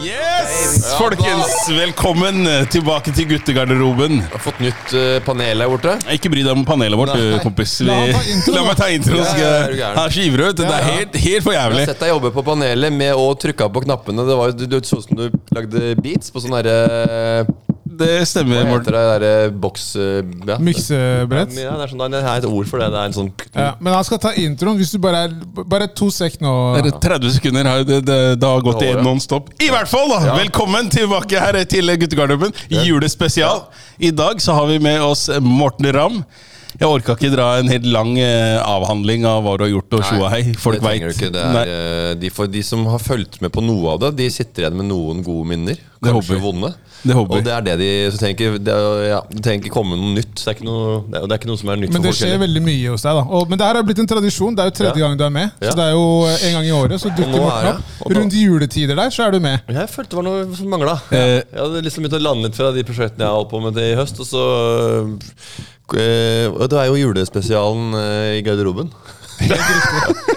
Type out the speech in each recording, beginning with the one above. Yes! Folkens, velkommen tilbake til guttegarderoben. Jeg har fått nytt eh, panel her borte. Ikke bry deg om panelet vårt, du, kompis. Vi, La han ta intro, la meg ta introen. Ja, skal ja, er du jeg- gæren? Han er så ivrig, vet du. Det er helt, helt for Jeg jævlig. har sett deg jobbe på panelet med å trykke på knappene. Det var jo, du, du så ut som du lagde beats på sånn derre Det stemmer, Hva Morten. heter det derre boks... eh, Ja. Miksebrett. Ja, det er sånn, det er et ord for det. Det er en sånn Ja, men han skal ta introen. Hvis du bare er Bare to sek nå. Dere 30 sekunder har, det, det, det har gått i Ja, ja. non stop. I hvert fall, da! Velkommen tilbake her til Guttegarderoben. Julespesial. I dag så har vi med oss Morten Ramm. Jeg orka ikke dra en helt lang eh, avhandling av hva du har gjort og tjo og hei. Folk det trenger veit. du ikke. Det er, eh, de, for de som har fulgt med på noe av det, de sitter igjen med noen gode minner. håper Kanskje vi. vonde. Det håper vi. Og det er det de så tenker det, er- ja, Det trenger ikke komme noe nytt. Det er ikke noe, det er, det er ikke noe som er nytt Men det for folk. skjer heller. veldig mye hos deg. da og, Men det her har blitt en tradisjon. Det er jo tredje Ja. gang du er med. Ja. Så det er jo eh, en gang i året. Så dukker nå er Morten jeg- opp. og da- Rundt juletider der, så er du med. Jeg følte det var noe som mangla. Eh. Jeg hadde liksom begynt å lande litt fra de prosjektene jeg holdt på med det i høst. Og så eh, Og det er jo julespesialen eh, i garderoben.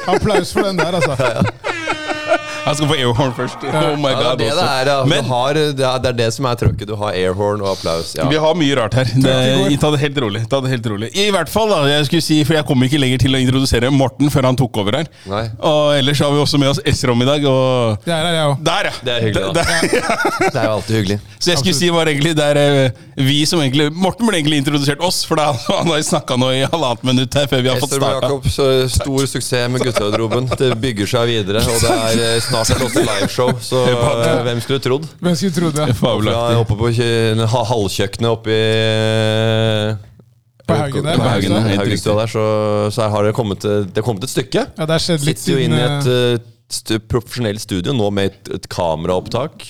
Applaus for den der, altså. Han skal få airhorn først. Oh my Ja, god. det er det det også. er. ja. Men Du har, eh, det, er, det er det som er trøkket. Du har airhorn og applaus. Ja. vi har mye rart her. Det, går. ta det helt rolig. ta det helt rolig I hvert fall, da. Jeg skulle si, for jeg kom ikke lenger til å introdusere Morten før han tok over her. Nei. Og ellers har vi også med oss Esrom i dag. Og Jeg er her, jeg òg. der, ja! Det er hyggelig, da. Der- Det er jo alltid hyggelig. Så jeg skulle si var egentlig det er eh, vi som egentlig Morten burde egentlig introdusert oss, for da, han har snakka nå i halvannet minutt her før vi har fått Ester og starta. Jakob, så stor suksess med guttegarderoben. Det bygger seg videre, og det er eh, snart et åtte liveshow, så eh, hvem skulle trodd? Hvem skulle tro det? Fra Fabelaktig. oppe på kjø- ha- halvkjøkkenet oppe i eh, På Haugen der. på Haugen der, helt Haugenstua der, så, så her har det kommet, eh, det har kommet et stykke. Ja, det har skjedd litt Sitter jo siden inne i et eh, eh, stu- profesjonelt studio nå med et, et kameraopptak.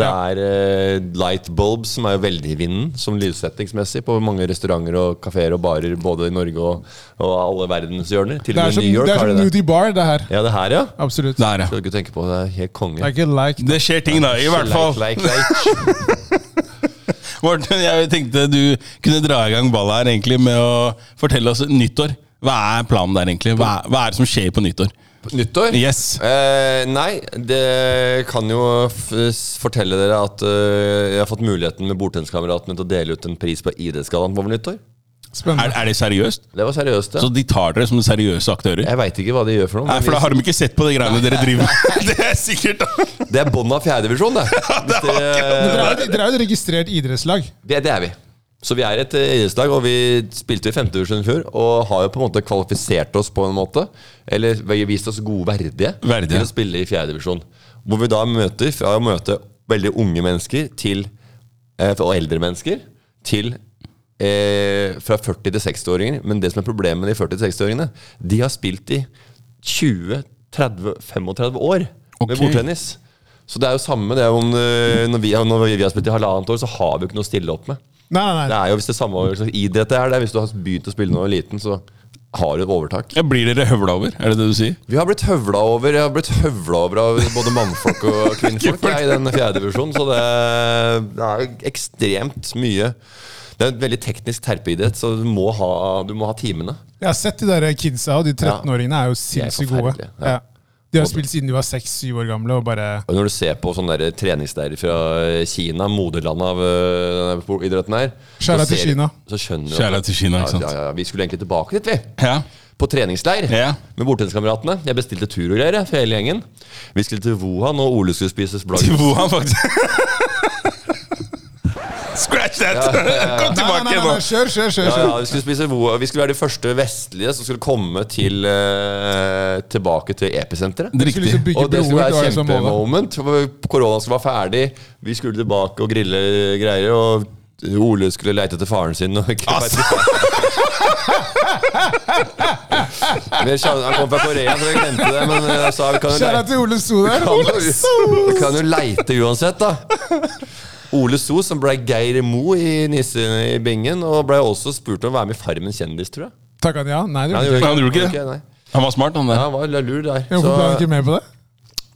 Det er eh, light bulbs som er jo veldig i vinden som lyssettingsmessig på mange restauranter og kafeer og barer både i Norge og, og alle verdens hjørner. Til Det og er med som, New York det er har som det det. Nudie Bar, det her. Ja, det her, ja. Absolutt. Der, ja. Skal ikke tenke på det. er Helt Det konge. er ikke like Det skjer ting, da. I hvert fall. Like, like, like. Morten, jeg tenkte du kunne dra i gang ballet her egentlig med å fortelle oss nyttår. Hva er planen der, egentlig? Hva er, hva er det som skjer på nyttår? Nyttår? Yes. Eh, nei, det kan jo f s- fortelle dere at eh, jeg har fått muligheten med bordtenniskameratene til å dele ut en pris på ID-skalaen over nyttår. Er, spennende. er det seriøst? Det var seriøst, det. Så de tar dere som seriøse aktører? Jeg veit ikke hva de gjør for noe. Nei, men for da har de ikke sett på de greiene dere driver med. Det er sikkert vi, det er bånn av fjerdedivisjon, det. Hvis Men Dere det, er jo- dere er jo et registrert idrettslag. det. Det er vi. Så vi er et eh, idrettslag, og vi spilte i femtedivisjon i fjor. Og har jo på en måte kvalifisert oss på en måte. Eller vi har vist oss gode verdige, Verdige. til å spille i fjerdedivisjon. Hvor vi da møter fra å møte veldig unge mennesker til eh, og eldre mennesker til eh, fra 40 til 60-åringer. Men det som er problemet med de 40 til 60-åringene, de har spilt i 20, 30, 35 år Ok. med bordtennis. Så det er jo samme det er om eh, når vi, har- når vi har spilt i halvannet år, så har vi jo ikke noe å stille opp med. Nei, nei, Det nei. er jo hvis det er samme hva slags idrett det er, det er hvis du har begynt å spille når du er liten, så har du et overtak. Ja, Blir dere høvla over? Er det det du sier? Vi har blitt høvla over Jeg har blitt høvla over av både mannfolk og kvinnfolk jeg, i den fjerde divisjonen, så det, det er jo ekstremt mye Det er en veldig teknisk terpeidrett, så du må ha, du må ha timene. Jeg har sett de der kidsa, og de 13-åringene er jo sinnssykt gode. forferdelige, ja. Ja. De har spilt siden de var 6-7 år gamle, og bare Og når du ser på sånne der treningsleirer fra Kina, moderlandet av øh, denne idretten her så Kjære til ser- Kina. Så skjønner du at- Kjære til Kina, ikke sant? Ja, ja, ja, vi skulle egentlig tilbake dit, vi. Ja. på treningsleir Ja. med bordtenniskameratene. Jeg bestilte tur og greier jeg, for hele gjengen. Vi skulle til Wuhan, og Ole skulle spise blagg. Til Wuhan, faktisk. Scratch that! Kom Nei, nei, nei, tilbake nei, nå. nei, kjør, kjør, kjør. Ja, kjør. ja, vi, skulle spise Wuhan. vi skulle være de første vestlige som skulle komme til, eh, tilbake til episenteret. Vi skulle liksom Riktig. bygge Og det broer, skulle det var være et liksom målet. kjempemoment. Korona skulle være ferdig, vi skulle tilbake og grille greier. Og Ole skulle leite etter faren sin. Og ikke Altså. Men kjære- Han kom fra Korea, så jeg glemte det. Men jeg sa vi kan jo Kjære leite- til Ole So der. kan jo, kan jo leite uansett, da. Ole So, som ble Geir Mo i Nissen i Bingen, og ble også spurt om å være med i Farmen kjendis, tror jeg. Takka han ja? Nei, det Nei, gjorde gjorde Han gjorde ikke det. nei. Han var smart, han Ja, der. han var lur der. Hvorfor ble han Så, ikke med på det?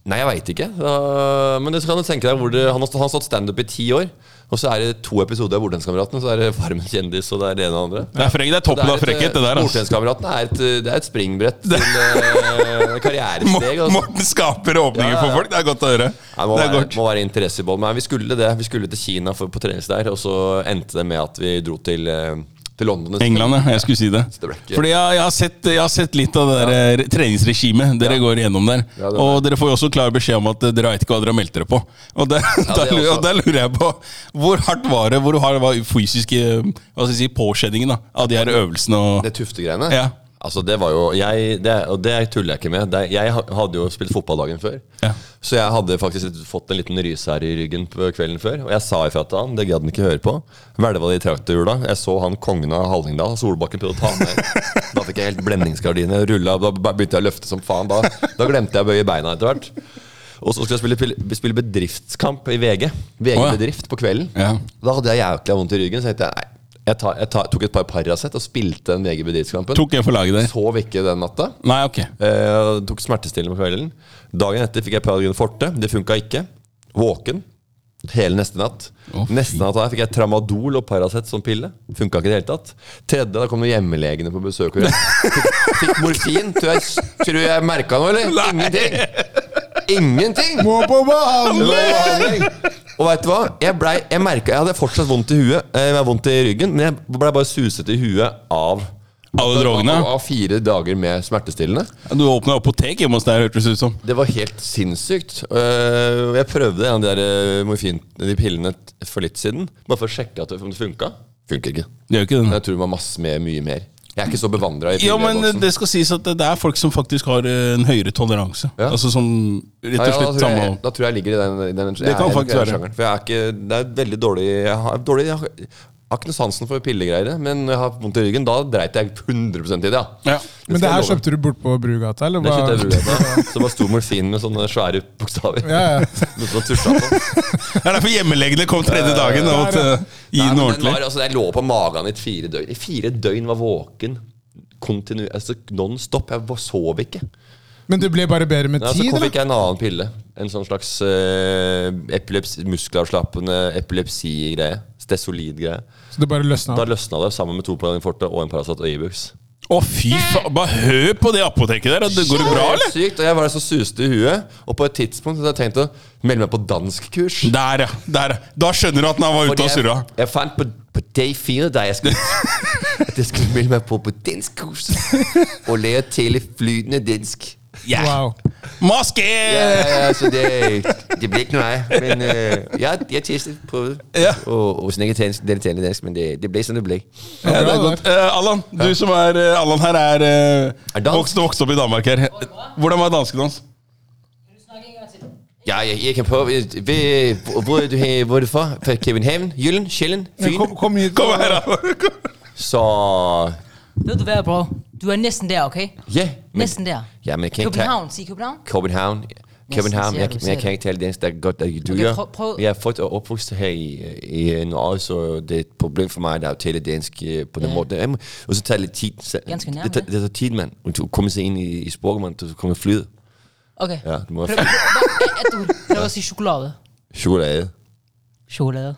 Nei, jeg veit ikke. Da- men det kan du tenke deg hvor det, han, har, stå- han har stått standup i ti år. Og så er det to episoder av Bordtenniskameratene, så er det Farmen kjendis og det er det ene og det andre. Det er, frekk, det er toppen av frekkhet, det der. Altså. Bordtenniskameratene er, et- eh, det er et springbrett til eh, karrieresteg. Mor- Altså. Morten skaper åpninger for folk. Det er godt å høre. Nei, må, Det er være, godt. må være interesse i bånd. Men vi skulle det. Vi skulle til Kina for, på trening der, og så endte det med at vi dro til, eh, til London. England, ja. Jeg skulle si det. det ble ikke- Fordi jeg, jeg, har sett, jeg har sett litt av det der eh, treningsregimet dere går igjennom der. Ja, det er og dere får jo også klar beskjed om at eh, dere vet ikke hva dere har meldt dere på. Og der, det der, lurer- også. og der lurer jeg på hvor hardt var det? Hvor hard var fysiske eh, hva skal jeg si, påkjenningen da, av de her øvelsene? Og, Det tuftegreiene? Ja. Altså, det var jo jeg, det, Og det tuller jeg ikke med. Det, jeg ha- hadde jo spilt fotball dagen før. Ja. Så jeg hadde faktisk litt- fått en liten rys her i ryggen på kvelden før. Og jeg sa ifra til han, det gadd han ikke høre på. Hvelva det i traktorhjula. Jeg så han kongen av Hallingdal, Solbakken, prøvde å ta meg. Da fikk jeg helt blendingsgardiner. Rulla, da begynte jeg å løfte som faen. Da, da glemte jeg å bøye beina etter hvert. Og så skulle jeg spille, pil- spille bedriftskamp i VG. VG Å, ja. Bedrift på kvelden. Ja. Da hadde jeg jævlig vondt i ryggen, så jeg tenkte nei. Jeg, tar, jeg tar, tok et par Paracet og spilte den VG Bedriftskampen. tok jeg for laget der? Sov ikke den natta. Nei, ok. Eh, tok smertestillende på kvelden. Dagen etter fikk jeg Paragon Forte. Det funka ikke. Våken hele neste natt. Å, fy. neste natt her fikk jeg Tramadol og Paracet som pille. Funka ikke i det hele tatt. Tredje, da kom det hjemmelegene på besøk. og jeg Fikk, fikk morfin. Tror jeg, tror jeg merka noe, eller? Ingenting! Ingenting! Må på behandling! Og vet du hva? Jeg, blei, jeg, merket, jeg hadde fortsatt vondt i huet eh, Jeg hadde vondt i ryggen Men jeg ble bare suset i huet av Alle drogene? Av, av fire dager med smertestillende Du åpna apotek hjemme hos deg, hørtes det ut som. Det var helt sinnssykt Eh, Jeg prøvde en av de der, eh, morfin De pillene t- for litt siden Bare for å sjekke at det- om det funket Funker ikke Men Det gjør ikke det. jeg tror det var masse mer, mye mer Jeg er ikke så bevandret i Ja, men pilledåsen. det skal sies at det det er folk som faktisk har eh, en høyere toleranse. Ja. Altså som rett Nei, og ja, slett da, tror jeg, samme da tror jeg ligger i den, i den jeg er kan nok i faktisk den være. sjangeren, For jeg er ikke, det er veldig dårlig Jeg har, dårlig, jeg har, jeg har ikke noe sansen for pillegreier, men når jeg har vondt i ryggen, da dreit jeg 100 i det. ja. ja. Men det skal jeg her love. kjøpte du bort på Brugata, eller? Det hva? kjøpte jeg brugata. Så bare sto morfin med sånne svære bokstaver. Ja, ja. Noe som tusja på. Det er derfor hjemmelegene kom tredje dagen og måtte eh, gi den Nei, men den ordentlig. var, altså, jeg lå på magen i et fire døgn. I fire døgn var våken. Kontinu, altså non stop. Jeg bare sov ikke. Men det ble bare bedre med Ja, så tid, kom da? fikk jeg en annen pille. En sånn slags eh, epileps muskelavslappende epilepsi-greie. Stesolid-greie. Så det bare løsna? Da løsna det sammen med to på den forte og en Paracet og Ibux. Å, fy faen! Bare hør på det apoteket der! og Det går det bra, eller? Sykt, og jeg var så suste i huet. Og på et tidspunkt hadde jeg tenkt å melde meg på danskkurs. Der, ja. der ja. Da skjønner du at han var ute og jeg, surra. jeg fant på, på day fire da jeg skulle At jeg skulle melde meg på på danskkurs. Og lære å tale flytende dansk. Yeah. Wow. Maske! Ja, ja, så det, det ble ikke noe av. Men eh, jeg, jeg testet, prøvde. Ja. Og, og snakket dansk, det tale dansk, men det, det ble som det ble. Ja, Ja, det er bra, godt. Eh, Allan, du som er eh, Allan her, er, eh, Er dansk. vokst, vokst opp i Danmark her. Hvordan var danskedans? Ja, jeg, jeg kan prøve. Ved, hvor, er du, he- hvor er du fra? Fra København? Jylland? Sjælland? Men Fyn? Kom, kom hit. Kom her, da! Så Ved du hvad, bro? Du er næsten der, okay? ja. Men, Næsten der. ja, men jeg kan ikke ta- København, sig København. København. København, siger jeg, du, men siger jeg kan du. ikke tale dansk, der godt der du Okay, gør. prøv- prøv- Jeg er født og opvokset her i, i øh, Norge, så det er et problem for mig, der er jo tale dansk øh, på den Ja. måde. Jamen, Og så tager det lidt tid. Så, Ganske nærmest. det, tager- det tager tid, mand. Og Du kommer sig ind i, i sprog, mand. Du kommer flyet. Okay. Ja, du må Kan have du, kan du, kan du også sige chokolade? chokolade. Chokolade.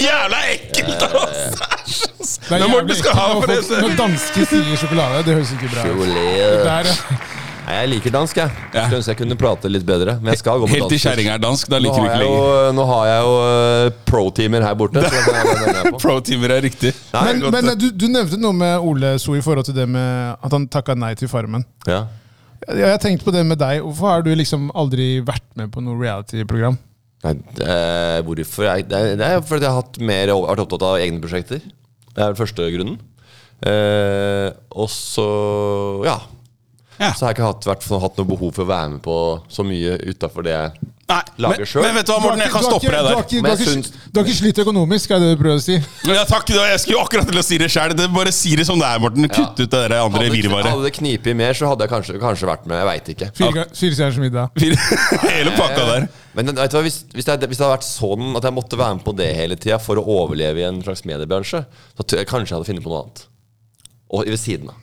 Jævla ekkelt, ass! Men Det er Morten, jævlig du skal ekkelt ha når for det, folk- så- Når dansker sier sjokolade, det høres ikke bra ut. Chokolade. Der, ja. Ej, jeg liker dansk, jeg. Ja. Skulle ønske jeg kunne prate litt bedre, men jeg skal gå på Helt til danskurs. kjerringa er dansk. Da Nå liker du har ikke jeg lenger. jo, nå har jeg jo øh, pro-timer her borte. Så den er- den er jeg på. Pro-timer er riktig. Nei, Det er Men, godt. men du, du nevnte noe med Ole So i forhold til det med at han takka nei til Farmen. Ja. Jeg, jeg tenkte på det med deg. Hvorfor har du liksom aldri vært med på noe reality-program? Nei, det er- hvorfor jeg, det, er, det er fordi jeg har hatt mer, vært opptatt av egne prosjekter. Det er den første grunnen. Eh, og så ja. Ja. Så har jeg ikke hatt, vært, sånn, hatt noe behov for å være med på så mye utafor det jeg Nei, lager men, selv. men vet du hva, Du har Morten, jeg ikke- kan du har stoppe deg ikke- Du har der. ikke, du Men har jeg ikke, syns- du har ikke slitt økonomisk, er det du prøver å si? Ja, takk, du, Jeg skulle jo akkurat til å si det sjøl. Bare si det som det er, Morten. Kutt ut det der andre Hadde, virvaret. hadde det knipet mer, så hadde jeg kanskje, kanskje vært med. Jeg veit ikke. Eh, Fire ga- fire stjerners middag. Hele pakka der. Men vet du hva, hvis, hvis, det, hvis det hadde vært sånn at jeg måtte være med på det hele tida for å overleve i en slags mediebransje, så tror jeg kanskje jeg hadde funnet på noe annet. Og ved siden av.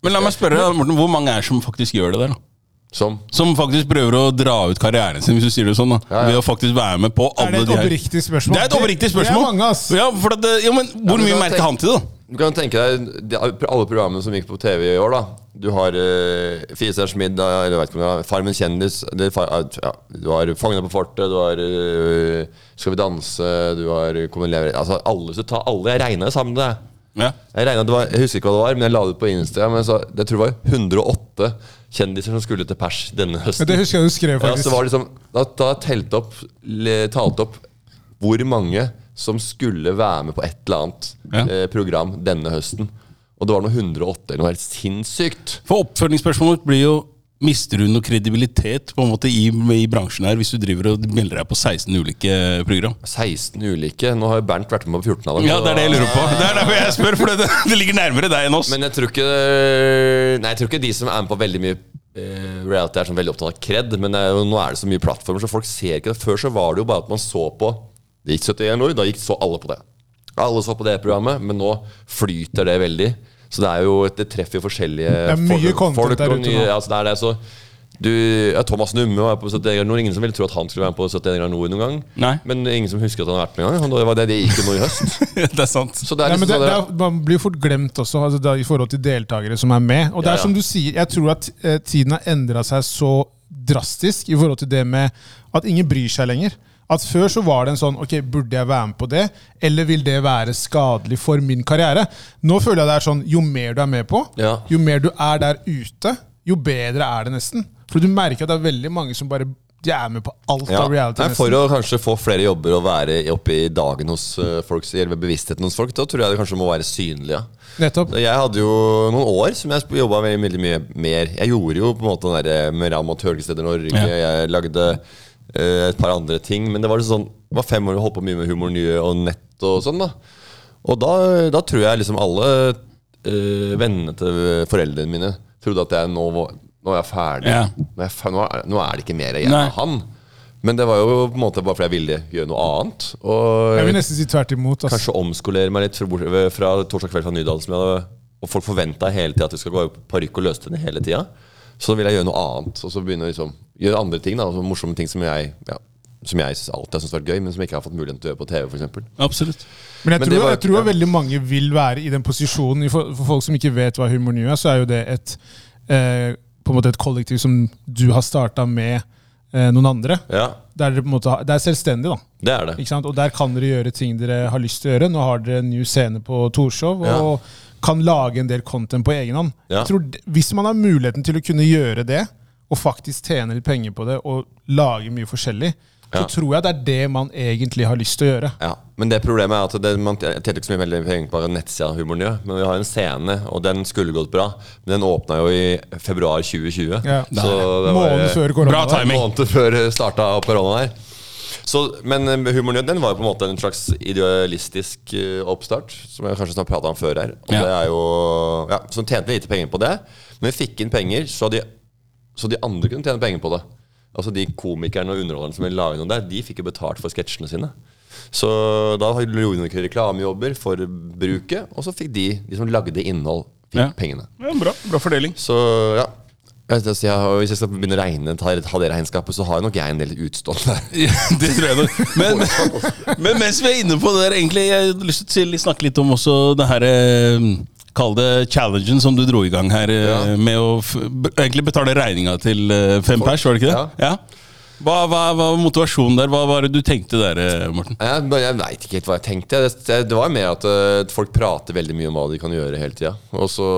Men la meg spørre, deg, Morten, hvor mange er det som faktisk gjør det der? da? Som Som faktisk prøver å dra ut karrieren sin, hvis du sier det sånn. da Ja, ja. Ved å faktisk være med på Er alle det et de her oppriktig spørsmål? Det er et oppriktig spørsmål. Det er mange, ass. Ja, for at, det- jo, men Hvor men mye da merker tenk- han til det, da? Du kan tenke deg de- alle programmene som gikk på TV i år, da. Du har uh, Fire stjerners middag, eller jeg vet ikke om det er Farmen kjendis, eller, far, ja, du har Fangene på fortet, du har eh, Skal vi danse, du har Kom og lever Altså alle, så ta alle. Jeg regna sammen med det. Ja. Jeg, regnet det var, jeg husker ikke hva det var, men jeg la det ut på Instagram. Jeg, sa, jeg tror det var 108 kjendiser som skulle til pers denne høsten. Ja, det husker jeg du skrev, Ja, så faktisk. var det liksom, da, da telte opp, le- talte opp hvor mange som skulle være med på et eller annet Ja. eh, program denne høsten. Og det var noe 108 eller noe helt sinnssykt. For oppfølgingsspørsmålet blir jo Mister du noe kredibilitet på en måte i, i bransjen her hvis du driver og melder deg på 16 ulike program? 16 ulike. Nå har jo Bernt vært med på 14 av dem. Ja, så Det er det jeg lurer på. Det er derfor jeg spør, for det, det ligger nærmere deg enn oss. Men jeg tror ikke Nei, jeg tror ikke de som er med på veldig mye eh, reality, er sånn veldig opptatt av cred. Men det er jo, nå er det så mye plattformer, så folk ser ikke det. Før så var det jo bare at man så på Det gikk 71 år, da gikk så alle på det. Alle så på det programmet, men nå flyter det veldig. Så det er jo Det treffer jo forskjellige Det er mye folk- content der og ute nå. nye- Altså, det er det, så du, ja, Thomas Numme var på 71 grader nord. Ingen som ville tro at han skulle være med på 71 grader nord noen gang. Nei. Men ingen som husker at han har vært med engang. Og Det var det det gikk jo nå i høst. det er sant. Så det er Nei, men liksom sånn det, det der- er, man blir jo fort glemt også altså, da, i forhold til deltakere som er med. Og det Ja, er ja. som du sier, jeg tror at eh, tiden har endra seg så drastisk i forhold til det med at ingen bryr seg lenger. At Før så var det en sånn ok, Burde jeg være med på det, eller vil det være skadelig for min karriere? Nå føler jeg det er sånn, jo mer du er med på, Ja. jo mer du er der ute, jo bedre er det nesten. For du merker at det er veldig mange som bare de er med på alt Ja. av reality. Nei, nesten. for å kanskje få flere jobber og være oppe i dagen hos eh, folk, eller bevisstheten hos folk, da tror jeg det kanskje må være synlig. Ja. Nettopp. Jeg hadde jo noen år som jeg jobba veldig, veldig mye mer. Jeg gjorde jo på en måte den der eh, med Ram og Tørgesteder Norge, jeg lagde eh, et par andre ting, men det var sånn Jeg var fem år og holdt på mye med humor nye og nett og sånn, da. Og da, da tror jeg liksom alle eh, vennene til foreldrene mine trodde at jeg nå, var- nå er jeg ferdig. Ja. Nå, er jeg fer nå, er, nå er det ikke mer igjen Nei. av han. Men det var jo på en måte bare fordi jeg ville gjøre noe annet. Og Jeg vil nesten si tvert imot. altså. ass. kanskje omskolere meg litt fra, bort- fra torsdag kveld fra Nydalen. Som jeg hadde, og folk forventa hele tida at du skal gå i parykk og løstenne hele tida. Så da vil jeg gjøre noe annet. Og så begynne å liksom, gjøre andre ting. da altså Morsomme ting som jeg, ja, som jeg synes alltid har syntes vært gøy, men som jeg ikke har fått muligheten til å gjøre på TV. For eksempel. Absolutt. Men jeg Men det tror, var- jeg tror ja. veldig mange vil være i den posisjonen. I For, for folk som ikke vet hva Humor New er, så er jo det et, eh, på en måte et kollektiv som du har starta med eh, noen andre. ja, Der dere på en måte, har- det er selvstendig, da. det er det. Ikke sant? Og der kan dere gjøre ting dere har lyst til å gjøre. Nå har dere en ny scene på Torshov. og kan lage en del content på egen hånd. Ja. Jeg tror d- Hvis man har muligheten til å kunne gjøre det, og faktisk tjene litt penger på det, og lage mye forskjellig, så Ja. tror jeg det er det man egentlig har lyst til å gjøre. Ja, men det problemet er at det, man tjener ikke så mye veldig penger på nettsida humoren gjør, men vi har en scene, og den skulle gått bra, men den åpna jo i februar 2020. Ja. Så det var- Måneden før korona. Bra da. timing. En måned før det starta koronaen her. Så, men eh, humoren din den var jo på en måte en slags idealistisk eh, oppstart, som jeg kanskje snart prata om før her. Og Ja. det er jo, ja, så de tjente lite penger på det, men vi fikk inn penger så de, så de andre kunne tjene penger på det. Altså De komikerne og underholderne som la inn noe der, de fikk jo betalt for sketsjene sine. Så da gjorde de ikke reklamejobber for bruket, og så fikk de, de som lagde innhold, fikk Ja. pengene. Ja, bra, bra fordeling. Så ja. Jeg vet ikke, jeg har, hvis jeg skal begynne å regne, ta, ta det regnskapet, så har jeg nok jeg en del utstående. Ja, det tror jeg nok. Men, men, men mens vi er inne på det der, egentlig, jeg har lyst til å snakke litt om også det her eh, Kall det challengen som du dro i gang her, eh, Ja. med å f b- egentlig betale regninga til eh, fem pers, var det ikke det? Ja. Hva, hva, hva var motivasjonen der? Hva var det du tenkte der, eh, Morten? Jeg, men jeg veit ikke helt hva jeg tenkte. Det, det, det var mer at eh, folk prater veldig mye om hva de kan gjøre hele tida. Og så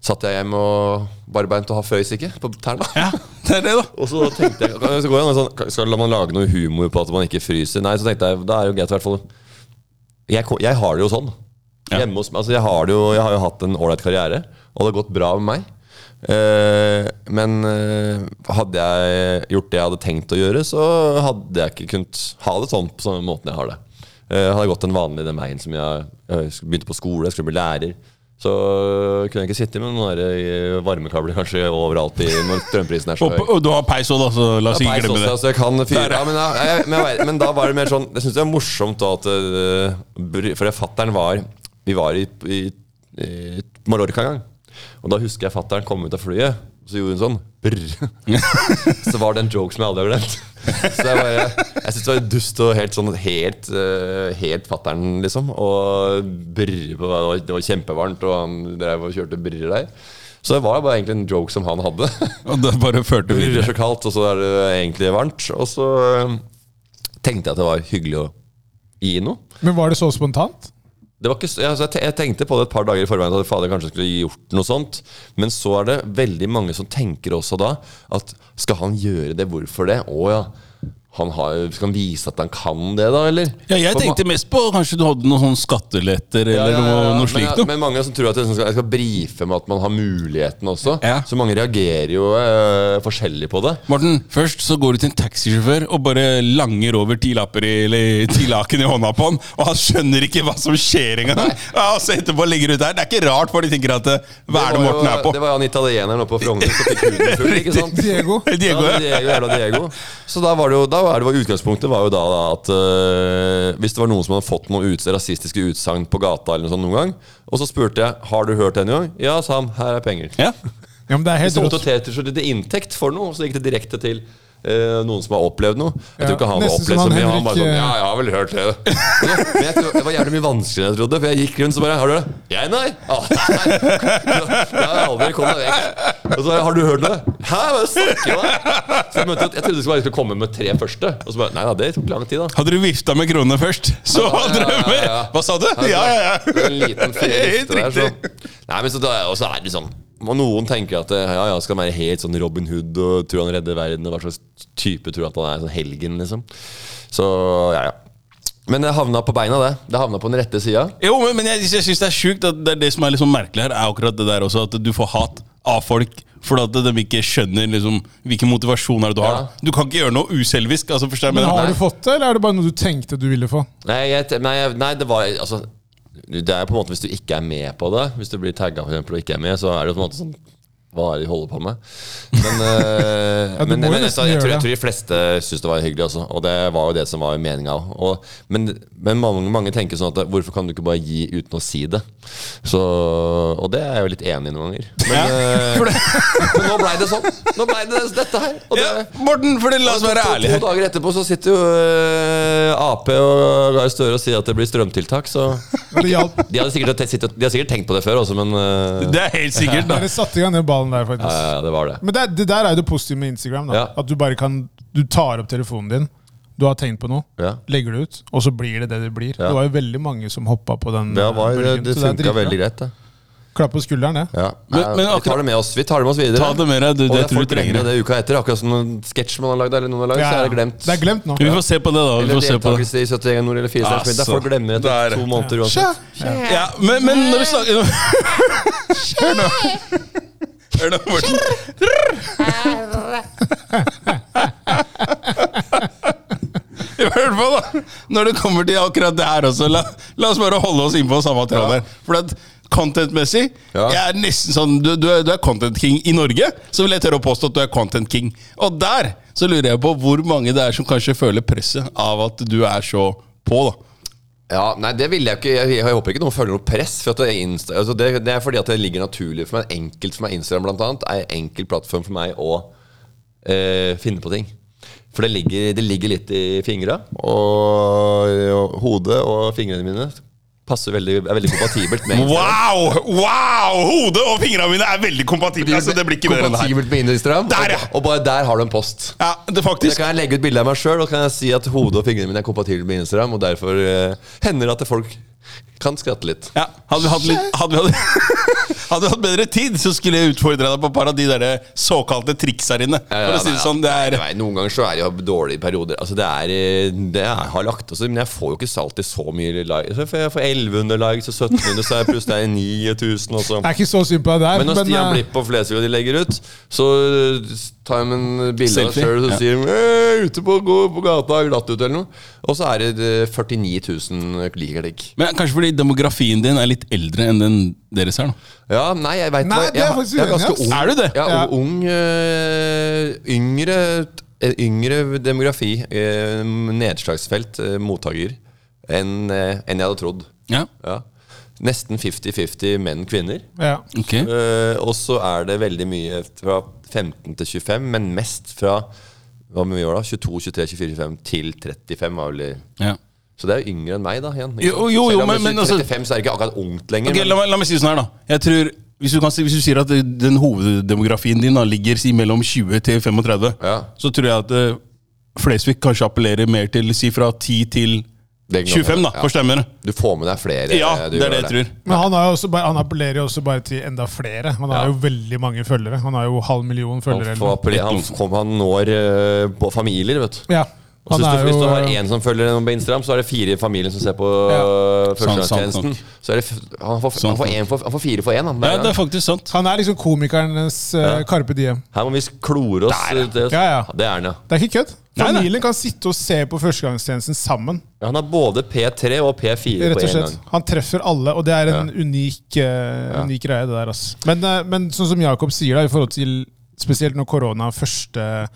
satt jeg hjemme og barbeint og har føys ikke på tærne. Ja, det er det, da. Og så tenkte jeg så går jeg an og sånn, Skal man lage noe humor på at man ikke fryser? Nei, så tenkte jeg, da er det jo greit i hvert fall jeg, ko- jeg har det jo sånn. Ja. Hjemme hos meg, altså jeg, har det jo, jeg har jo hatt en ålreit karriere, og det har gått bra med meg. Eh, men eh, hadde jeg gjort det jeg hadde tenkt å gjøre, så hadde jeg ikke kunnet ha det sånn på samme måten jeg har det. Eh, hadde jeg gått den vanlige den veien som jeg, jeg sk- begynte på skole, jeg skulle bli lærer, så eh, kunne jeg ikke sitte med noen der, eh, varmekabler kanskje overalt i, når strømprisen er så Og, høy. p- og du har peis òg, da, så la oss Ja, ikke peis glemme også, det. altså, jeg kan fyre. Der, ja. Ja, men, jeg, jeg, men, jeg, vet- men da var det mer sånn Jeg syns det er morsomt da at øh, bry- For fattern var Vi var i, i, i Mallorca en gang. Og da husker jeg fattern kom ut av flyet. Så gjorde hun sånn. Brr. så var det en joke som jeg aldri har glemt. så jeg bare, jeg syntes det var dust og helt sånn helt, eh, helt fatter'n, liksom. Og brr, på- det var, det var kjempevarmt, og han drev og kjørte brr der. Så det var bare egentlig en joke som han hadde. Og da bare førte vi Brr er så kaldt, og så er det egentlig varmt. Og så eh, tenkte jeg at det var hyggelig å gi noe. Men var det så spontant? Det var ikke, så- ja, altså jeg te- jeg tenkte på det et par dager i forveien at fader kanskje skulle gjort noe sånt. Men så er det veldig mange som tenker også da at skal han gjøre det, hvorfor det? Å ja. Han har, skal han vise at han kan det, da, eller? Ja, jeg tenkte mest på kanskje du hadde noen sånne skatteletter eller noe, noe slikt men, noe. men mange som tror at jeg skal, jeg skal brife med at man har muligheten også. Ja. Så mange reagerer jo eh, forskjellig på det. Morten, først så går du til en taxisjåfør og bare langer over ti lapper i, eller ti laken i hånda på han, og han skjønner ikke hva som skjer engang. Ja, og så etterpå ligger du der. Det er ikke rart, for de tenker at eh, hva er det var jo- Morten er på? Det var jo han italieneren oppe på Frogner som fikk huden full, ikke sant? Diego? Diego, ja. ja. Diego, jævla Diego. Så da var det jo, da var det var utgangspunktet var jo da at øh, hvis det var noen som hadde fått noen ut, rasistiske utsagn på gata, eller noe sånt noen gang, og så spurte jeg har du hørt det en gang, ja, sa han, her er penger. Ja. Ja, men det er Så helt rått. noterte så til inntekt for noe, og så gikk det direkte til øh, noen som har opplevd noe. Jeg Ja, tror ikke han har nesten opplevd så som han mye. Han bare Henrik, sånn, eh, ja, jeg har vel hørt det. Ja, Men jeg tror, det var jævlig mye vanskeligere enn jeg trodde. For jeg gikk rundt så bare Har du det? Jeg, nei. Ah, nei. Jeg har aldri kommet meg vekk. Og så bare, har du hørt det? Hæ, hva snakker du om? Så jeg, møtte, jeg trodde det skulle, bare skulle komme med tre første. Og så bare Nei da, det tok lang tid, da. Hadde du vifta med kronene først, så hadde du med Hva sa du? Ja, ja, Det var ja. En liten ferie Helt etter der, så. riktig. Nei, men så da, og så er det sånn og Noen tenker at eh, ja, ja, skal han være helt sånn Robin Hood og tror han redder verden. Og hva slags type tror at han er? Sånn helgen, liksom. Så ja, ja. Men det havna på beina, det. Det havna på den rette sida. Jo, men, men jeg, jeg syns det er sjukt at det, er det som er liksom merkelig her, er akkurat det der også, at du får hat av folk fordi at de ikke skjønner liksom, hvilken motivasjon er det du har. Ja. Du kan ikke gjøre noe uselvisk. Altså, forstår jeg Men mener? har du fått det, eller er det bare noe du tenkte du ville få? Nei, jeg, te- nei, jeg, nei, det var altså Det er på en måte hvis du ikke er med på det. Hvis du blir tagga for eksempel og ikke er med, så er det på en måte sånn Hva er det de holder på med? Men, eh, Ja, du men, må jo men jeg, nesten jeg, tror, jeg gjøre tror de fleste syntes det var hyggelig, også, og det var jo det som var meninga. Men, men mange, mange tenker sånn at hvorfor kan du ikke bare gi uten å si det? Så, og det er jeg jo litt enig i noen ganger. Men, Ja, eh, men nå blei det sånn. Nå blei det dette her. Og det, Ja, Morten, for det, la oss være to, ærlige To her. dager etterpå så sitter jo eh, Ap og Gahr Støre og sier at det blir strømtiltak, så Men det hjalp. De hadde sikkert, te- sittet- de hadde sikkert tenkt på det før også, men eh, Det er helt sikkert, da. Dere satte i gang den ballen der, ja, faktisk. ja, det var det. Men det, er- det der er jo det positive med Instagram. da Ja. At du bare kan Du tar opp telefonen din, du har tenkt på noe, Ja. legger det ut, og så blir det det det blir. Ja. Det var jo veldig mange som hoppa på den. Det, eh, var, det, bølgen, det så er funka dritbra. veldig greit, det. Klapp på skulderen, det. Ja. Men- Nei, men vi tar det med oss Vi tar det med oss videre. Ta det med deg, du, og det det tror jeg folk trenger glemmer det uka etter. Akkurat som en sketsj man har lagd, eller noen har lagd, Ja, så ja. er det glemt. Det er glemt nå. Vi får se på det, da. Vi eller får se på det. deltakelse i 71 grader nord eller 4 stjerners middag. Altså, Folk glemmer der. etter to måneder uansett. Ja, men, men når vi snakker Hør nå. Hør nå, Morten. I hvert fall, da. Når det kommer til akkurat det her også, la, la oss bare holde oss innpå samme tråd der. For at content-messig Ja. Jeg er nesten sånn du, du, er, du er content king i Norge, så vil jeg tørre å påstå at du er content king. Og der så lurer jeg på hvor mange det er som kanskje føler presset av at du er så på, da. Ja, nei, det vil jeg ikke. Jeg, jeg håper ikke noen føler noe press. For at det, er Insta, altså det, det er fordi at det ligger naturlig for meg. Enkelt for meg Instagram blant annet, er en enkel plattform for meg å eh, finne på ting. For det ligger, det ligger litt i fingra. Og, og hodet og fingrene mine passer veldig, er veldig kompatibelt med Instagram. Wow! wow, Hodet og fingrene mine er veldig kompatible. Altså, det blir ikke bedre enn det her. Kompatibelt med Instagram. Der, ja. og, og bare der har du en post. Ja, det er Så faktisk. kan jeg legge ut bilde av meg sjøl og kan jeg si at hodet og fingrene mine er kompatible med Instagram. Og derfor eh, hender det at folk kan skratte litt. Ja, hadde, vi hatt litt, hadde, vi hatt, hadde vi hatt bedre tid, så skulle jeg utfordra deg på et par av de der eh, såkalte triks her inne. Ja, ja, For å si det nei, sånn, det nei, er nei, Noen ganger så er det jo dårlige perioder. Altså det er, eh, det er, har lagt oss Men jeg får jo ikke alltid så mye likes. Jeg får jeg får 1100 likes og 1700, så er jeg pluss det er 9000 også. Jeg er ikke så synd på deg der, Men når Stian eh, Blipp og Flesvig og de legger ut, så eh, tar de en bilde av Selfie, seg sjøl og ja. så sier de, «Eh, ute på, gå på gata, glatt ut eller noe. Og så er det eh, 49 000 liker-klikk. Men Kanskje fordi demografien din er litt eldre enn den deres er? nå Ja, nei, jeg veit Nei, hva- det er jeg- faktisk jeg er uenig, ganske ass. ung. Er du det? Ja, Ja. og ung eh, Yngre eh, Yngre demografi eh, Nedslagsfelt eh, Mottaker enn, eh, enn jeg hadde trodd Ja. ja. nesten 50-50 menn-kvinner. Ja. Ok. Eh, og så er det veldig mye fra 15 til 25, men mest fra hva må vi gjøre da? 22, 23, 24, 25 til 35. Var vel, i- Ja. så det er jo yngre enn meg, da. Igjen. Jo, jo, jo, Selv om men- jeg men altså- er 35, så er det ikke akkurat ungt lenger. Ok, men- la, meg, la meg si det sånn her, da. Jeg tror, hvis, du kan, si- hvis du sier at eh, den hoveddemografien din da, ligger si, mellom 20 til 35, Ja. så tror jeg at eh, Flesvig kanskje appellerer mer til si fra 10 til Det kan 25, da, godt hende, ja. for stemmere. Du får med deg flere. Ja, eh, du det er det jeg gjør tror. Men han, har jo også bare, han appellerer jo også bare til enda flere. Han har Ja. jo veldig mange følgere. Han har jo halv million følgere. Han, eller får noe. appellere- han, kom, han når eh, på familier, vet du. Ja. Og Han så er hvis, du, hvis du har jo eh, én som følger noen på Instagram, så er det fire i familien som ser på ja. Sant- sant førstegangstjenesten. nok. Så er det, f- han, får, Sant han, får nok. en for, han får fire for én. Ja, det er faktisk sant. Han er liksom komikernes eh, Carpe Diem. Her må vi sk- klore oss. Det, Ja, ja. det er han, ja. Det er ikke kødd. Nei, nei. Familien kan sitte og se på førstegangstjenesten sammen. Ja, Han har både P3 og P4 Rett på og én slett. gang. Han treffer alle, og det er en unik, eh, unik greie, det der. Ass. Men, eh, men sånn som Jakob sier, da, i forhold til spesielt når korona første,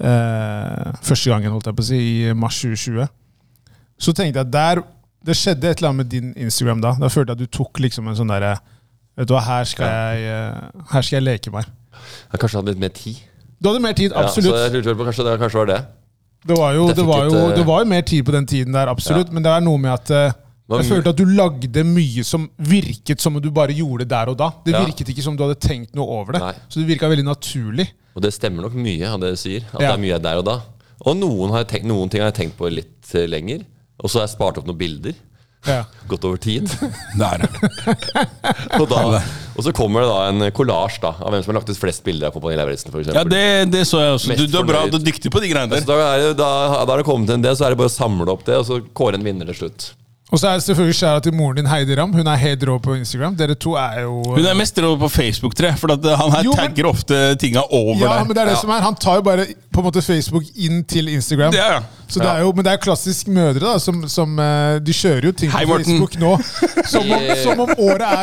eh, første gangen, holdt jeg på å si, i mars 2020, så tenkte jeg der Det skjedde et eller annet med din Instagram da. Da følte jeg at du tok liksom en sånn derre Vet du hva, her skal, jeg, eh, her skal jeg leke meg. Han kanskje hadde litt mer tid. Du hadde mer tid, Ja, absolutt. så jeg lurte vel på kanskje det kanskje var det. Det var, jo, Det det, fikk var et, jo, eh, det var jo mer tid på den tiden der, absolutt. Men det er noe med at eh, Var jeg mye- følte at du lagde mye som virket som om du bare gjorde det der og da. Det Ja. virket ikke som du hadde tenkt noe over det. Nei. Så det virka veldig naturlig. Og det stemmer nok mye av det du sier. At det Ja. er mye der og da. Og noen, har jeg tenkt, noen ting har jeg tenkt på litt eh, lenger. Og så har jeg spart opp noen bilder. Ja. Gått over tid. Der er det. Og, da, og så kommer det da en kollasj da, av hvem som har lagt ut flest bilder av Kompani Lauritzen. for Ja, eksempel. det, det så jeg også. Mest Du, du er bra, fornøyd. du er dyktig på de greiene der. Så da er det, da, da er det kommet en del, så er det bare å samle opp det, og så kåre en vinner til slutt. Og så er det selvfølgelig skjæra til moren din, Heidi Ram. Hun er helt rå på Instagram. Dere to er jo Hun er mest rå på Facebook, tror jeg. For at eh, han her Jo, men- tagger ofte tinga over ja, deg. men det er det Ja. som er. Han tar jo bare på en måte Facebook inn til Instagram. Ja, ja. Så det er jo, men det er klassisk mødre, da, som, som eh, De kjører jo ting Hei, på Morten. Facebook nå. Som om, som om året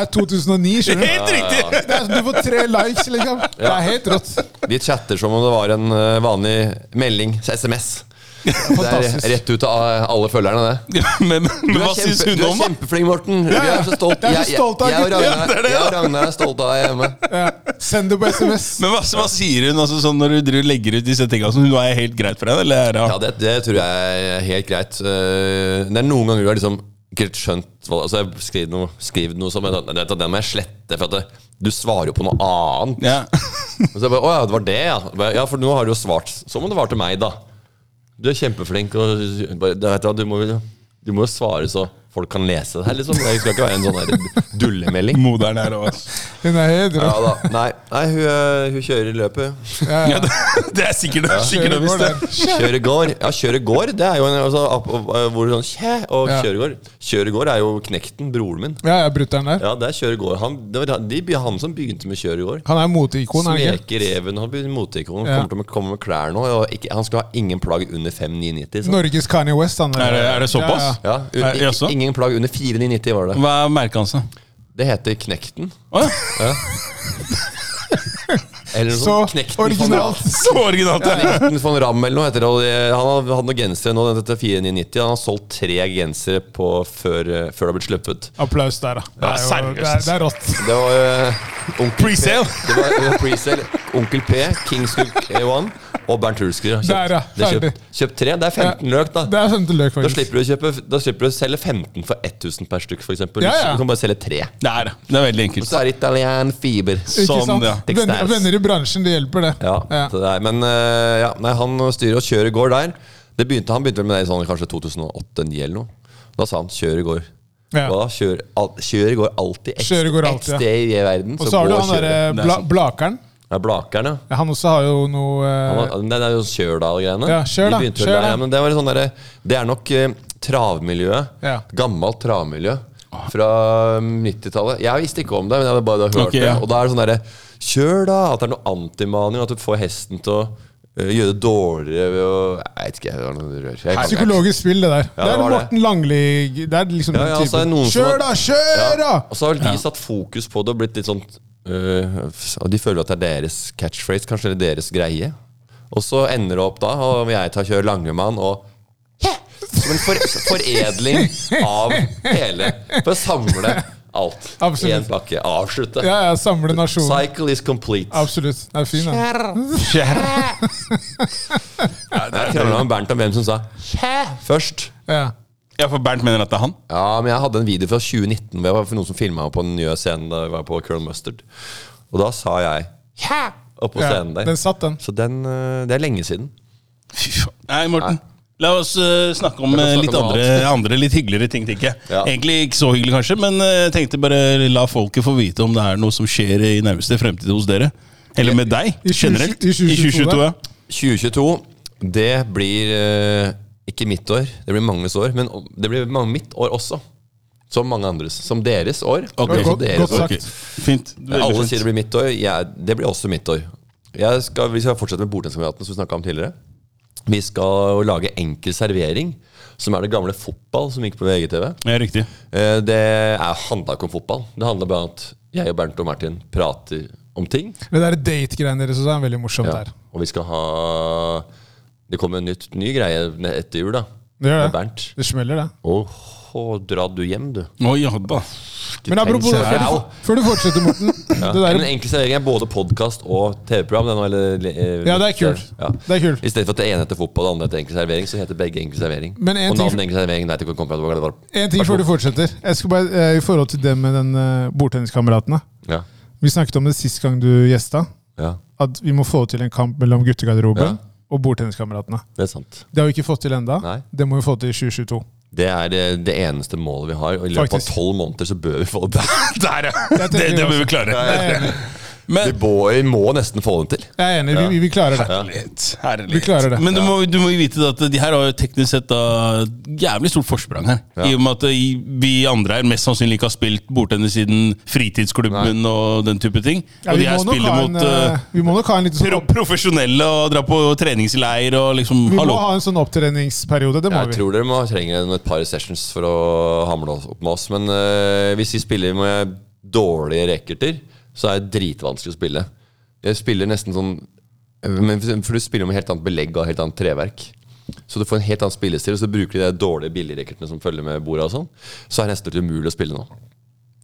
er 2009. skjønner du? Helt riktig! Det er, som Altså, du får tre likes, liksom. Det er helt rått. De chatter som om det var en eh, vanlig melding, SMS. Det Fantastisk. er rett ut av alle følgerne, det. Ja, men, men hva syns hun du er om det? kjempeflink, Morten. Vi ja. er så stolt. Jeg er Jeg, så jeg, stolt av jeg, og gutten. Ragnar- Ja, det er det, jeg og ja. Ragnar er stolte av deg hjemme. Ja. Send det på SMS. Men hva, hva sier hun altså, sånn når du driver, legger ut disse tinga? Sånn, nå er jeg helt greit for deg? Eller er det, Ja, det, det tror jeg er helt greit. Eh, Det er noen ganger du har liksom ikke helt skjønt hva- altså Jeg skriver noe, skriver noe som jeg, tenkte, "Nei, Den må jeg slette, for at det, du svarer jo på noe annet. ja. Og så jeg bare, Å ja, det var det, ja. Bare, Ja, for nå har du jo svart som om det var til meg, da. Du er kjempeflink, og bare, det- vet du hva, du må jo du må jo svare så folk kan lese det her, liksom. Det skal ikke være en sånn der dullemelding. Moderen her òg. Hun er helt rå. Ja da. Nei, nei hun, eh, hun kjører i løpet. Ja, det, det er sikkert det. er Sikkert, det Kjører går visste jeg. der. Kjøre gård. Ja, kjøre gård, det er jo en altså, opp- opp- hvor du sånn kjæ, og Ja. kjøre gård. Kjøre gård er jo knekten, broren min. Ja, ja, brutter'n der. Ja, det er kjøre gård. Han, det var han- de, han som begynte med kjøre gård. Han er moteikon, er han ikke? Smeke reven, han begynte med moteikon. Ja. Kommer til å komme med klær nå. Og ikke, han skal ha ingen plagg under 5990. sant? Norges Kanye West, han Er det, er det såpass? Ja, Ja, un, Eh, jaså? ikke- ingen plagg under 4990 var det. Hva er merket hans, da? Det heter Knekten. Å ja. Eller noe Så sånt. Knekten von originalt. Så originalt! Ja. Knekten von Ramm eller noe heter det. og det- Han har hatt noen gensere nå, den heter 4990. Han har solgt tre gensere på før, eh, før det har blitt sluppet. Applaus der, da. Det Ja, er, jo, seriøst. det er, det er rått. Det var eh, onkel Presale. P. Det var, det var presale. Onkel P, Kings Cook A1 og Bernt Hulsker. Kjøpt, Der, ja. det er kjøpt, Ferdig. kjøpt tre. Det er 15 løk, Det da. er femte løk, Da faktisk. slipper, du å kjøpe, da slipper du å selge 15 for 1000 per stykk, f.eks. eksempel Ja, ja. Du kan bare selge tre. Det er det. Det er veldig Og enkelt. så er det italien fiber. Ikke Sånn, sant? ja. Venner, Textiles. venner i bransjen, det hjelper, det. Ja, så det er, men eh, ja, nei, han styrer og kjører i går der. Det begynte, han begynte vel med det i sånn, kanskje 2008-2009 eller noe. Da sa han 'kjør i går'. Ja. Og da kjør, al, kjør i går alltid. Ett Kjør i går alltid, ett sted i verden, Og så, så har gå du og han kjør. derre Det er bla, sant. Blakeren. Det er Blakeren, ja. Ja, Han også har jo noe Han eh, var- Nei, det er jo sånn Kjørdal-greiene. Ja, kjør da, De begynte vel kjør der, da. ja, men det, var litt sånn derre- det er nok eh, travmiljøet. Ja. Gammelt travmiljø fra mm, 90-tallet. Jeg visste ikke om det, men jeg hadde bare hørt Ok, ja. det. Og da er det sånn derre Kjør, da! At det er noe antimaning. At du får hesten til å eh, gjøre det dårligere ved å Jeg vet ikke. Det var noe rør. Jeg kan ikke. Psykologisk spill, det der. Ja, det det er var det. Morten Langli Det er liksom Ja, ja, den så er det noen typen. som Kjør, har- da! Kjør, da! Og så har vel de satt fokus på det og blitt litt sånn øh, f- og De føler at det er deres catchphrase, kanskje eller deres greie. Og så ender det opp da, og jeg tar kjører Langemann og Som en for, foredling av hele For å samle Alt. Absolutt. Én pakke. Avslutte. Ja, ja, samle nasjonen. Cycle is complete. Absolutt. Det er fin, den. Jeg krangla med Bernt om hvem som sa «Hæ?» først. Ja. Ja, for Bernt mener at det er han. Ja, men jeg hadde en video fra 2019 hvor jeg var for noen som filma på den nye scenen da jeg var på Curl Mustard. Og da sa jeg «Hæ?» oppå Ja, scenen der. den satt, den. Så den, eh, det er lenge siden. Fy faen. Nei, Morten. La oss eh, snakke om eh, snakke litt om andre, andre litt hyggeligere ting, tenker jeg. Ja. Egentlig ikke så hyggelig, kanskje, men eh, jeg tenkte bare la folket få vite om det er noe som skjer i nærmeste fremtid hos dere. Eller med deg, I tjue- generelt. i 2022, ja. 2022, det blir eh, ikke mitt år, det blir manges år, men det blir mange- mitt år også. Som mange andres. Som deres år. Ok. Det blir også Godt- deres godt år. sagt. Ok, Fint. Veldig Alle fint. sier det blir mitt år. Jeg, det blir også mitt år. Jeg skal, vi skal fortsette med Bordtenniskameraten, som vi snakka om tidligere. Vi skal jo lage enkel servering, som er det gamle fotball som gikk på VGTV. Ja, riktig. Eh, Det er- handla ikke om fotball. Det handla bare om at jeg og Bernt og Martin prater om ting. Det der date-greiene deres også er veldig morsomt Ja. der. Og vi skal ha Det kommer en nytt, ny greie ne- etter jul, da. Det gjør Med det. Bernt. Det smeller, det. Åh, dra du hjem, du. Å ja da. Men apropos det, før, Au. du- før du fortsetter, Morten. Det Men der, Den enkle serveringen er både podkast og TV-program. det er noe, eller, eh, Ja, det er kult. Ja. Det er kult. I stedet for at det ene heter fotball og det andre heter enkel servering, så heter begge enkel servering. Men en og ting- navnet enkel servering vet jeg ikke hvor det kommer fra. det var- en ting før du fortsetter. Jeg skal bare, eh, I forhold til det med den eh, bordtenniskameratene. Ja. Vi snakket om det sist gang du gjesta. ja, At vi må få til en kamp mellom guttegarderoben Ja. og bordtenniskameratene. det er sant. Det har vi ikke fått til enda. Nei. Det må vi få til i 2022. Det er eh, det eneste målet vi har, og i løpet Faktisk. av tolv måneder så bør vi få det. Der, ja! Jeg tenker Det, det bør også- vi klare. Jeg er enig. Men Vi må, vi må nesten få det til. Jeg er enig. Vi, vi klarer det. Herlighet. herlighet. Vi klarer det. Men du må, du må jo vite at de her har jo teknisk sett da jævlig stort forsprang her. I og med at eh, i- vi andre her mest sannsynlig ikke har spilt bordtennis siden fritidsklubben og den type ting. Ja, og vi, de her må nok spiller ha en, mot eh, eh, vi må nok ha en liten sånn pro opp, profesjonelle og dra på treningsleir og liksom vi må Hallo. ha en sånn opptreningsperiode. Det må Jeg vi. tror dere må trenger en- et par sessions for å hamle oss- opp med oss. Men eh, hvis vi spiller med dårlige racketer, så er det dritvanskelig å spille. Jeg spiller nesten sånn men for for du spiller med helt annet belegg og helt annet treverk. Så du får en helt annen spillestil, og så bruker de de dårlige billigracketene som følger med bordet og sånn. Så er det nesten helt umulig å spille nå.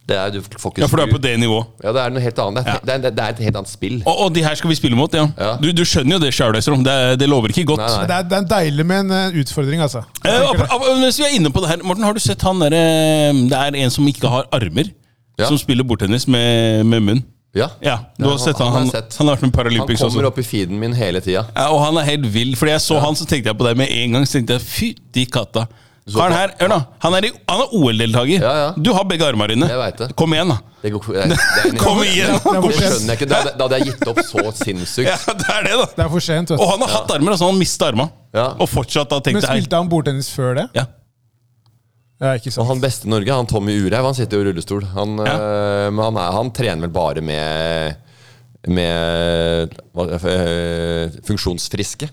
Det er, du får ikke Ja, for du er skru- på det nivået. Ja, det er noe helt annet. Det er, det er, det er et helt annet spill. Og, og de her skal vi spille mot, ja. Ja. Du, du skjønner jo det, Sjauleisrom. Det, er- det lover ikke godt. Nei, nei. Det er, det er deilig med en eh, utfordring, altså. Eh, ap- ap- mens vi er inne på det her, Morten, har du sett han derre eh, Det er en som ikke har armer, Ja. som spiller bordtennis med, med munn. Ja. Ja, du har han- sett han. han har Han, jeg sett. han har vært med i Han Paralympics kommer også. opp i feeden min hele tida. Ja, og han er helt vill. Fordi jeg så han, så tenkte jeg på deg med en gang. Så tenkte jeg, fytti katta. Så Karen på- her, hør nå, han er, i- han er OL-deltaker. Ja, ja. Du har begge armene dine. Jeg vet det. Kom igjen, da. Det går, det, er- det er- Kom igjen! Det er Kom Det for igjen. skjønner jeg ikke. Da, hadde- da hadde jeg gitt opp så Ja, sinnssykt. det er det, da. Det er for sent. Og Vet. han har hatt armer, altså. Han mista arma. Ja. Og fortsatt da du. Men tenkte jeg spilte han bordtennis før det? ja. Ja, ikke Og sant. han beste i Norge, han Tommy Urheim, han sitter jo i rullestol. Han, øh, men han, er, han trener vel bare med, med hva- øh, funksjonsfriske.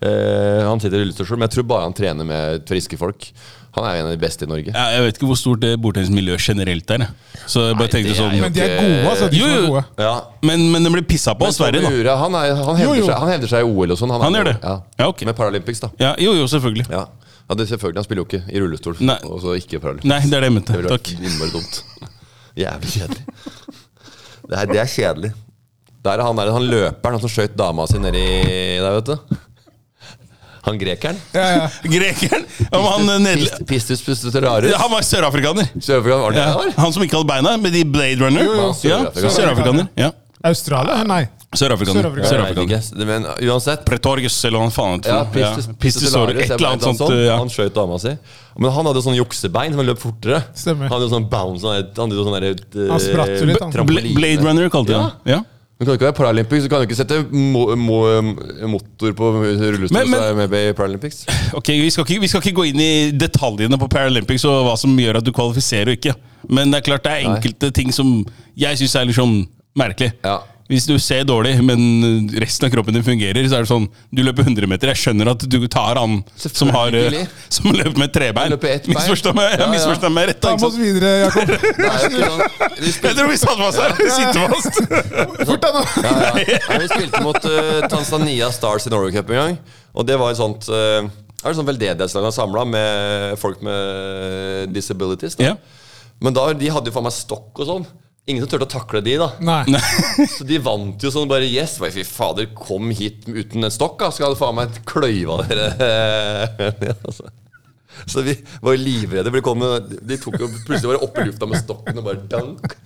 Eh, han sitter i rullestol, men jeg tror bare han trener med friske folk. Han er jo en av de beste i Norge. Ja, Jeg vet ikke hvor stort det bordtennismiljøet generelt er. jeg. Så jeg bare det tenkte er sånn jo- Men de er gode, altså. De Jo, som er jo. gode. Ja. Men, men den blir pissa på av Sverige, da. Tommy Urheim, han, er, han, hevder Jo, jo. Seg, han hevder seg i OL og sånn. Han er gjør jo- det? Ja. Ja, ok. Med Paralympics, da. Ja, jo, jo, selvfølgelig. Ja. ja, det er selvfølgelig, Han spiller jo ikke i rullestol, Nei. og så ikke i Paralympics. Nei, det er det jeg mente. Det ville Takk. vært innmari dumt. Jævlig kjedelig. Det er, det er kjedelig. Der er han, der, han løperen han som skjøt dama si nedi der, vet du. Han grekeren. Grekeren! Om han, eh, ned... Pist- Pistus Pustetorarus. han var sørafrikaner. Sørafrika, var det det Ja. han var? Han som ikke hadde beina, med de Blade Runner. jo. Ja, Sørafrikaner. Sørafrikaner. Ja. Australia? Nei. Sørafrikaner. Sørafrikaner. Jeg vet Sørafrikaner. ikke, det- Men uansett. Pretorgus, eller hva faen det Ja, heter. Ja, Pistus Pistisaurus, Pustetorarus, et jeg eller vet annet han sånt. sånn. ja. Han skjøt dama si. Men han hadde sånn juksebein som løp fortere. Stemmer. Han hadde sånn bounce Han, hadde- han, hadde sånn der, eh, Han spratt jo litt, han. Bla- Blade Runner kalte de Ja. han. Ja. Du kan jo ikke være Paralympics, du kan jo ikke sette mo mo motor på rullestol Men- men, men- men, med i Paralympics. Ok, vi skal, ikke, vi skal ikke gå inn i detaljene på Paralympics og hva som gjør at du kvalifiserer og ikke. Men det er klart det er enkelte ting som jeg syns er litt sånn merkelig. Ja. Hvis du ser dårlig, men resten av kroppen din fungerer, så er det sånn Du løper 100 meter. Jeg skjønner at du tar han som har eh, Selvfølgelig. Som løper med trebein. Han løper ett bein. Misforstå meg, Ja, ja. misforstå meg rett. da, Ta ikke med oss sant? videre, Jakob. Det er jo ikke sånn. Vi Jeg spilte, tror vi satt fast her! Sitter fast. Fort, da, nå! ja, ja. Nei, vi spilte mot eh, Tanzania Stars i Norway Cup en gang. Og det var et sånt eh, uh, er det sånn veldedighetslag han samla med folk med disabilities. Da. Ja. Men da, de hadde jo faen meg stokk og sånn. Ingen som turte å takle de, da. Nei. Så de vant jo sånn bare Yes, bare, fy fader, kom hit uten en stokk, da. Skal du faen meg kløyva dere Ja, altså. Så vi var jo livredde. For de, kom, jo- de tok jo plutselig bare opp i lufta med stokken og bare dank.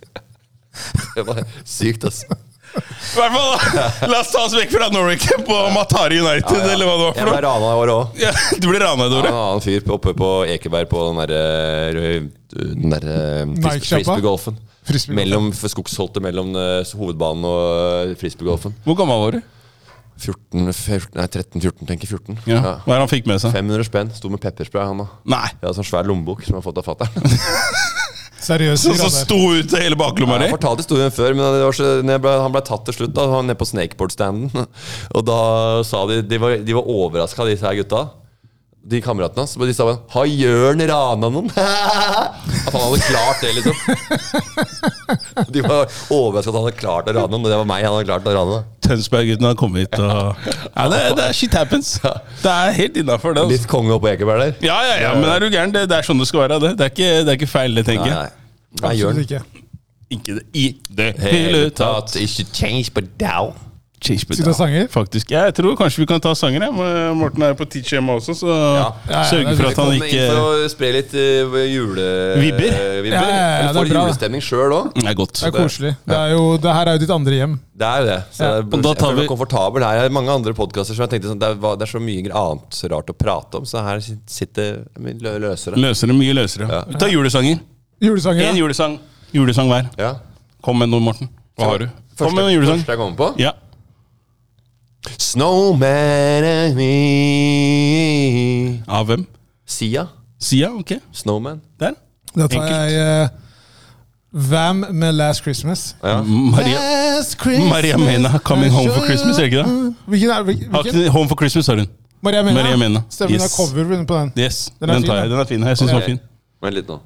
Det var sykt, altså. ass. I hvert fall, da, La oss ta oss vekk fra Norway Camp og Matari United, eller hva det var Jeg for ble noe. rana i år òg. Ja, du ble rana i Det var Dore. En annen fyr oppe på Ekeberg på den derre den der, eh, Nike-sjappa? frisbeegolfen. Frisbeegolfen. Mellom skogsholtet mellom eh, hovedbanen og eh, frisbeegolfen. Hvor gammel var du? 14, 14, nei 13-14, tenker jeg, 14. Ja. Ja. Hva er det han fikk med seg? 500 spenn. Sto med pepperspray, han da. Nei. Jeg hadde sånn svær lommebok som jeg har fått av fatter'n. Seriøst. Som som Radar. sto ut til hele baklomma di? Jeg fortalte historien før, men det var så, når jeg ble, han ble tatt til slutt. da, Han var nede på snakeboardstanden. Og da sa de De var, de var overraska, disse her gutta. De kameratene hans. De sa bare 'Har Jørn rana noen?' At han hadde klart det, liksom. De var overraska at han hadde klart å rane noen. Og det var meg han hadde klart å rane. Tønsberg-guttene har kommet hit og ja, det, det er Shit happens. Det er helt innafor, det. Litt Altså. konge oppe på Ekeberg der. Ja, ja, ja, men er du gæren? Det, det er sånn det skal være. Det, det, er, ikke, det er ikke feil, det, tenker jeg. Nei, Jørn. Absolutt ikke. Ikke det i det hele Hele tatt. tatt, ikke change på down. Change på Skal vi ta down. sanger? Faktisk. Jeg tror kanskje vi kan ta sanger. jeg. Må- Morten er på tidsskjema også, så ja, sørge for at han Kom inn ikke for å spre litt uh, jule... Vibber? eh, vibber. Ja, ja, ja, Eller det er får litt bra. julestemning sjøl òg. Det er godt. Det er koselig. Det, er jo, det her er jo ditt andre hjem. Det er jo det. Så Ja. jeg, Og da jeg tar føler meg vi- komfortabel her. Jeg har mange andre podkaster som jeg tenkte sånn, det, er, hva- det er så mye annet rart å prate om, så her sitter vi lø- løser det. Løsere, mye løsere. Vi tar julesanger. Julesanger. Én ja. julesang. Julesang hver. Ja. Kom med noe, Morten. Hva har du? Kom med en julesang. Første jeg kommer på. Ja. Snowman and me. Av hvem? Sia. Sia? Ok. Snowman. Der. Da tar Enkelt. jeg eh, Vam med Last Christmas. Ja. Maria, Last Christmas Maria Mena, Coming Home for Christmas, er det ikke det? Hvilken er hvilken? Har ikke- Home for Christmas, har hun. Maria Mena. Maria Mena. Stemmer, hun har Yes. cover på den. Yes, Den den, er fin, tar jeg. da. Den er fin. Jeg syns den var fin. Vent litt nå.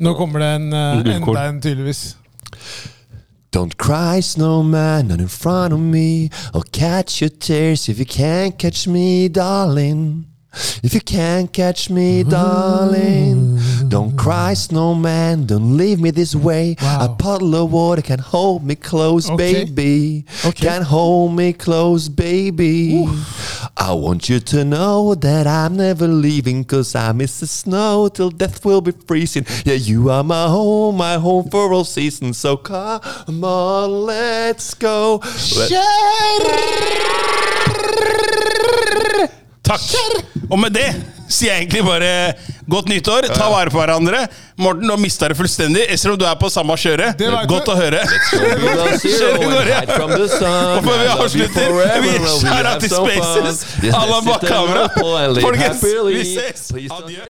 Nå kommer det en, eh, Gullkorn. enda en, tydeligvis. Don't cry, snowman, not in front of me. I'll catch your tears if you can't catch me, darling. If you can't catch me, darling. Don't cry, snowman, don't leave me this way. Wow. A puddle of water can hold me close, Okay. baby. Okay. Can hold me close, baby. I want you to know that I'm never leaving, cause I miss the snow till death will be freezing. Yeah, you are my home, my home for all seasons. So come on, let's go. Takk. Og med det sier jeg egentlig bare godt nyttår. Ta vare på hverandre. Morten, du har mista det fullstendig. Selv om du er på samme kjøret. Det var ikke- Godt å høre. Kjør vi går, ja. Og før vi avslutter, vi skjærer til Spaces. à la Bakkavra. Folkens, vi ses. Adjø.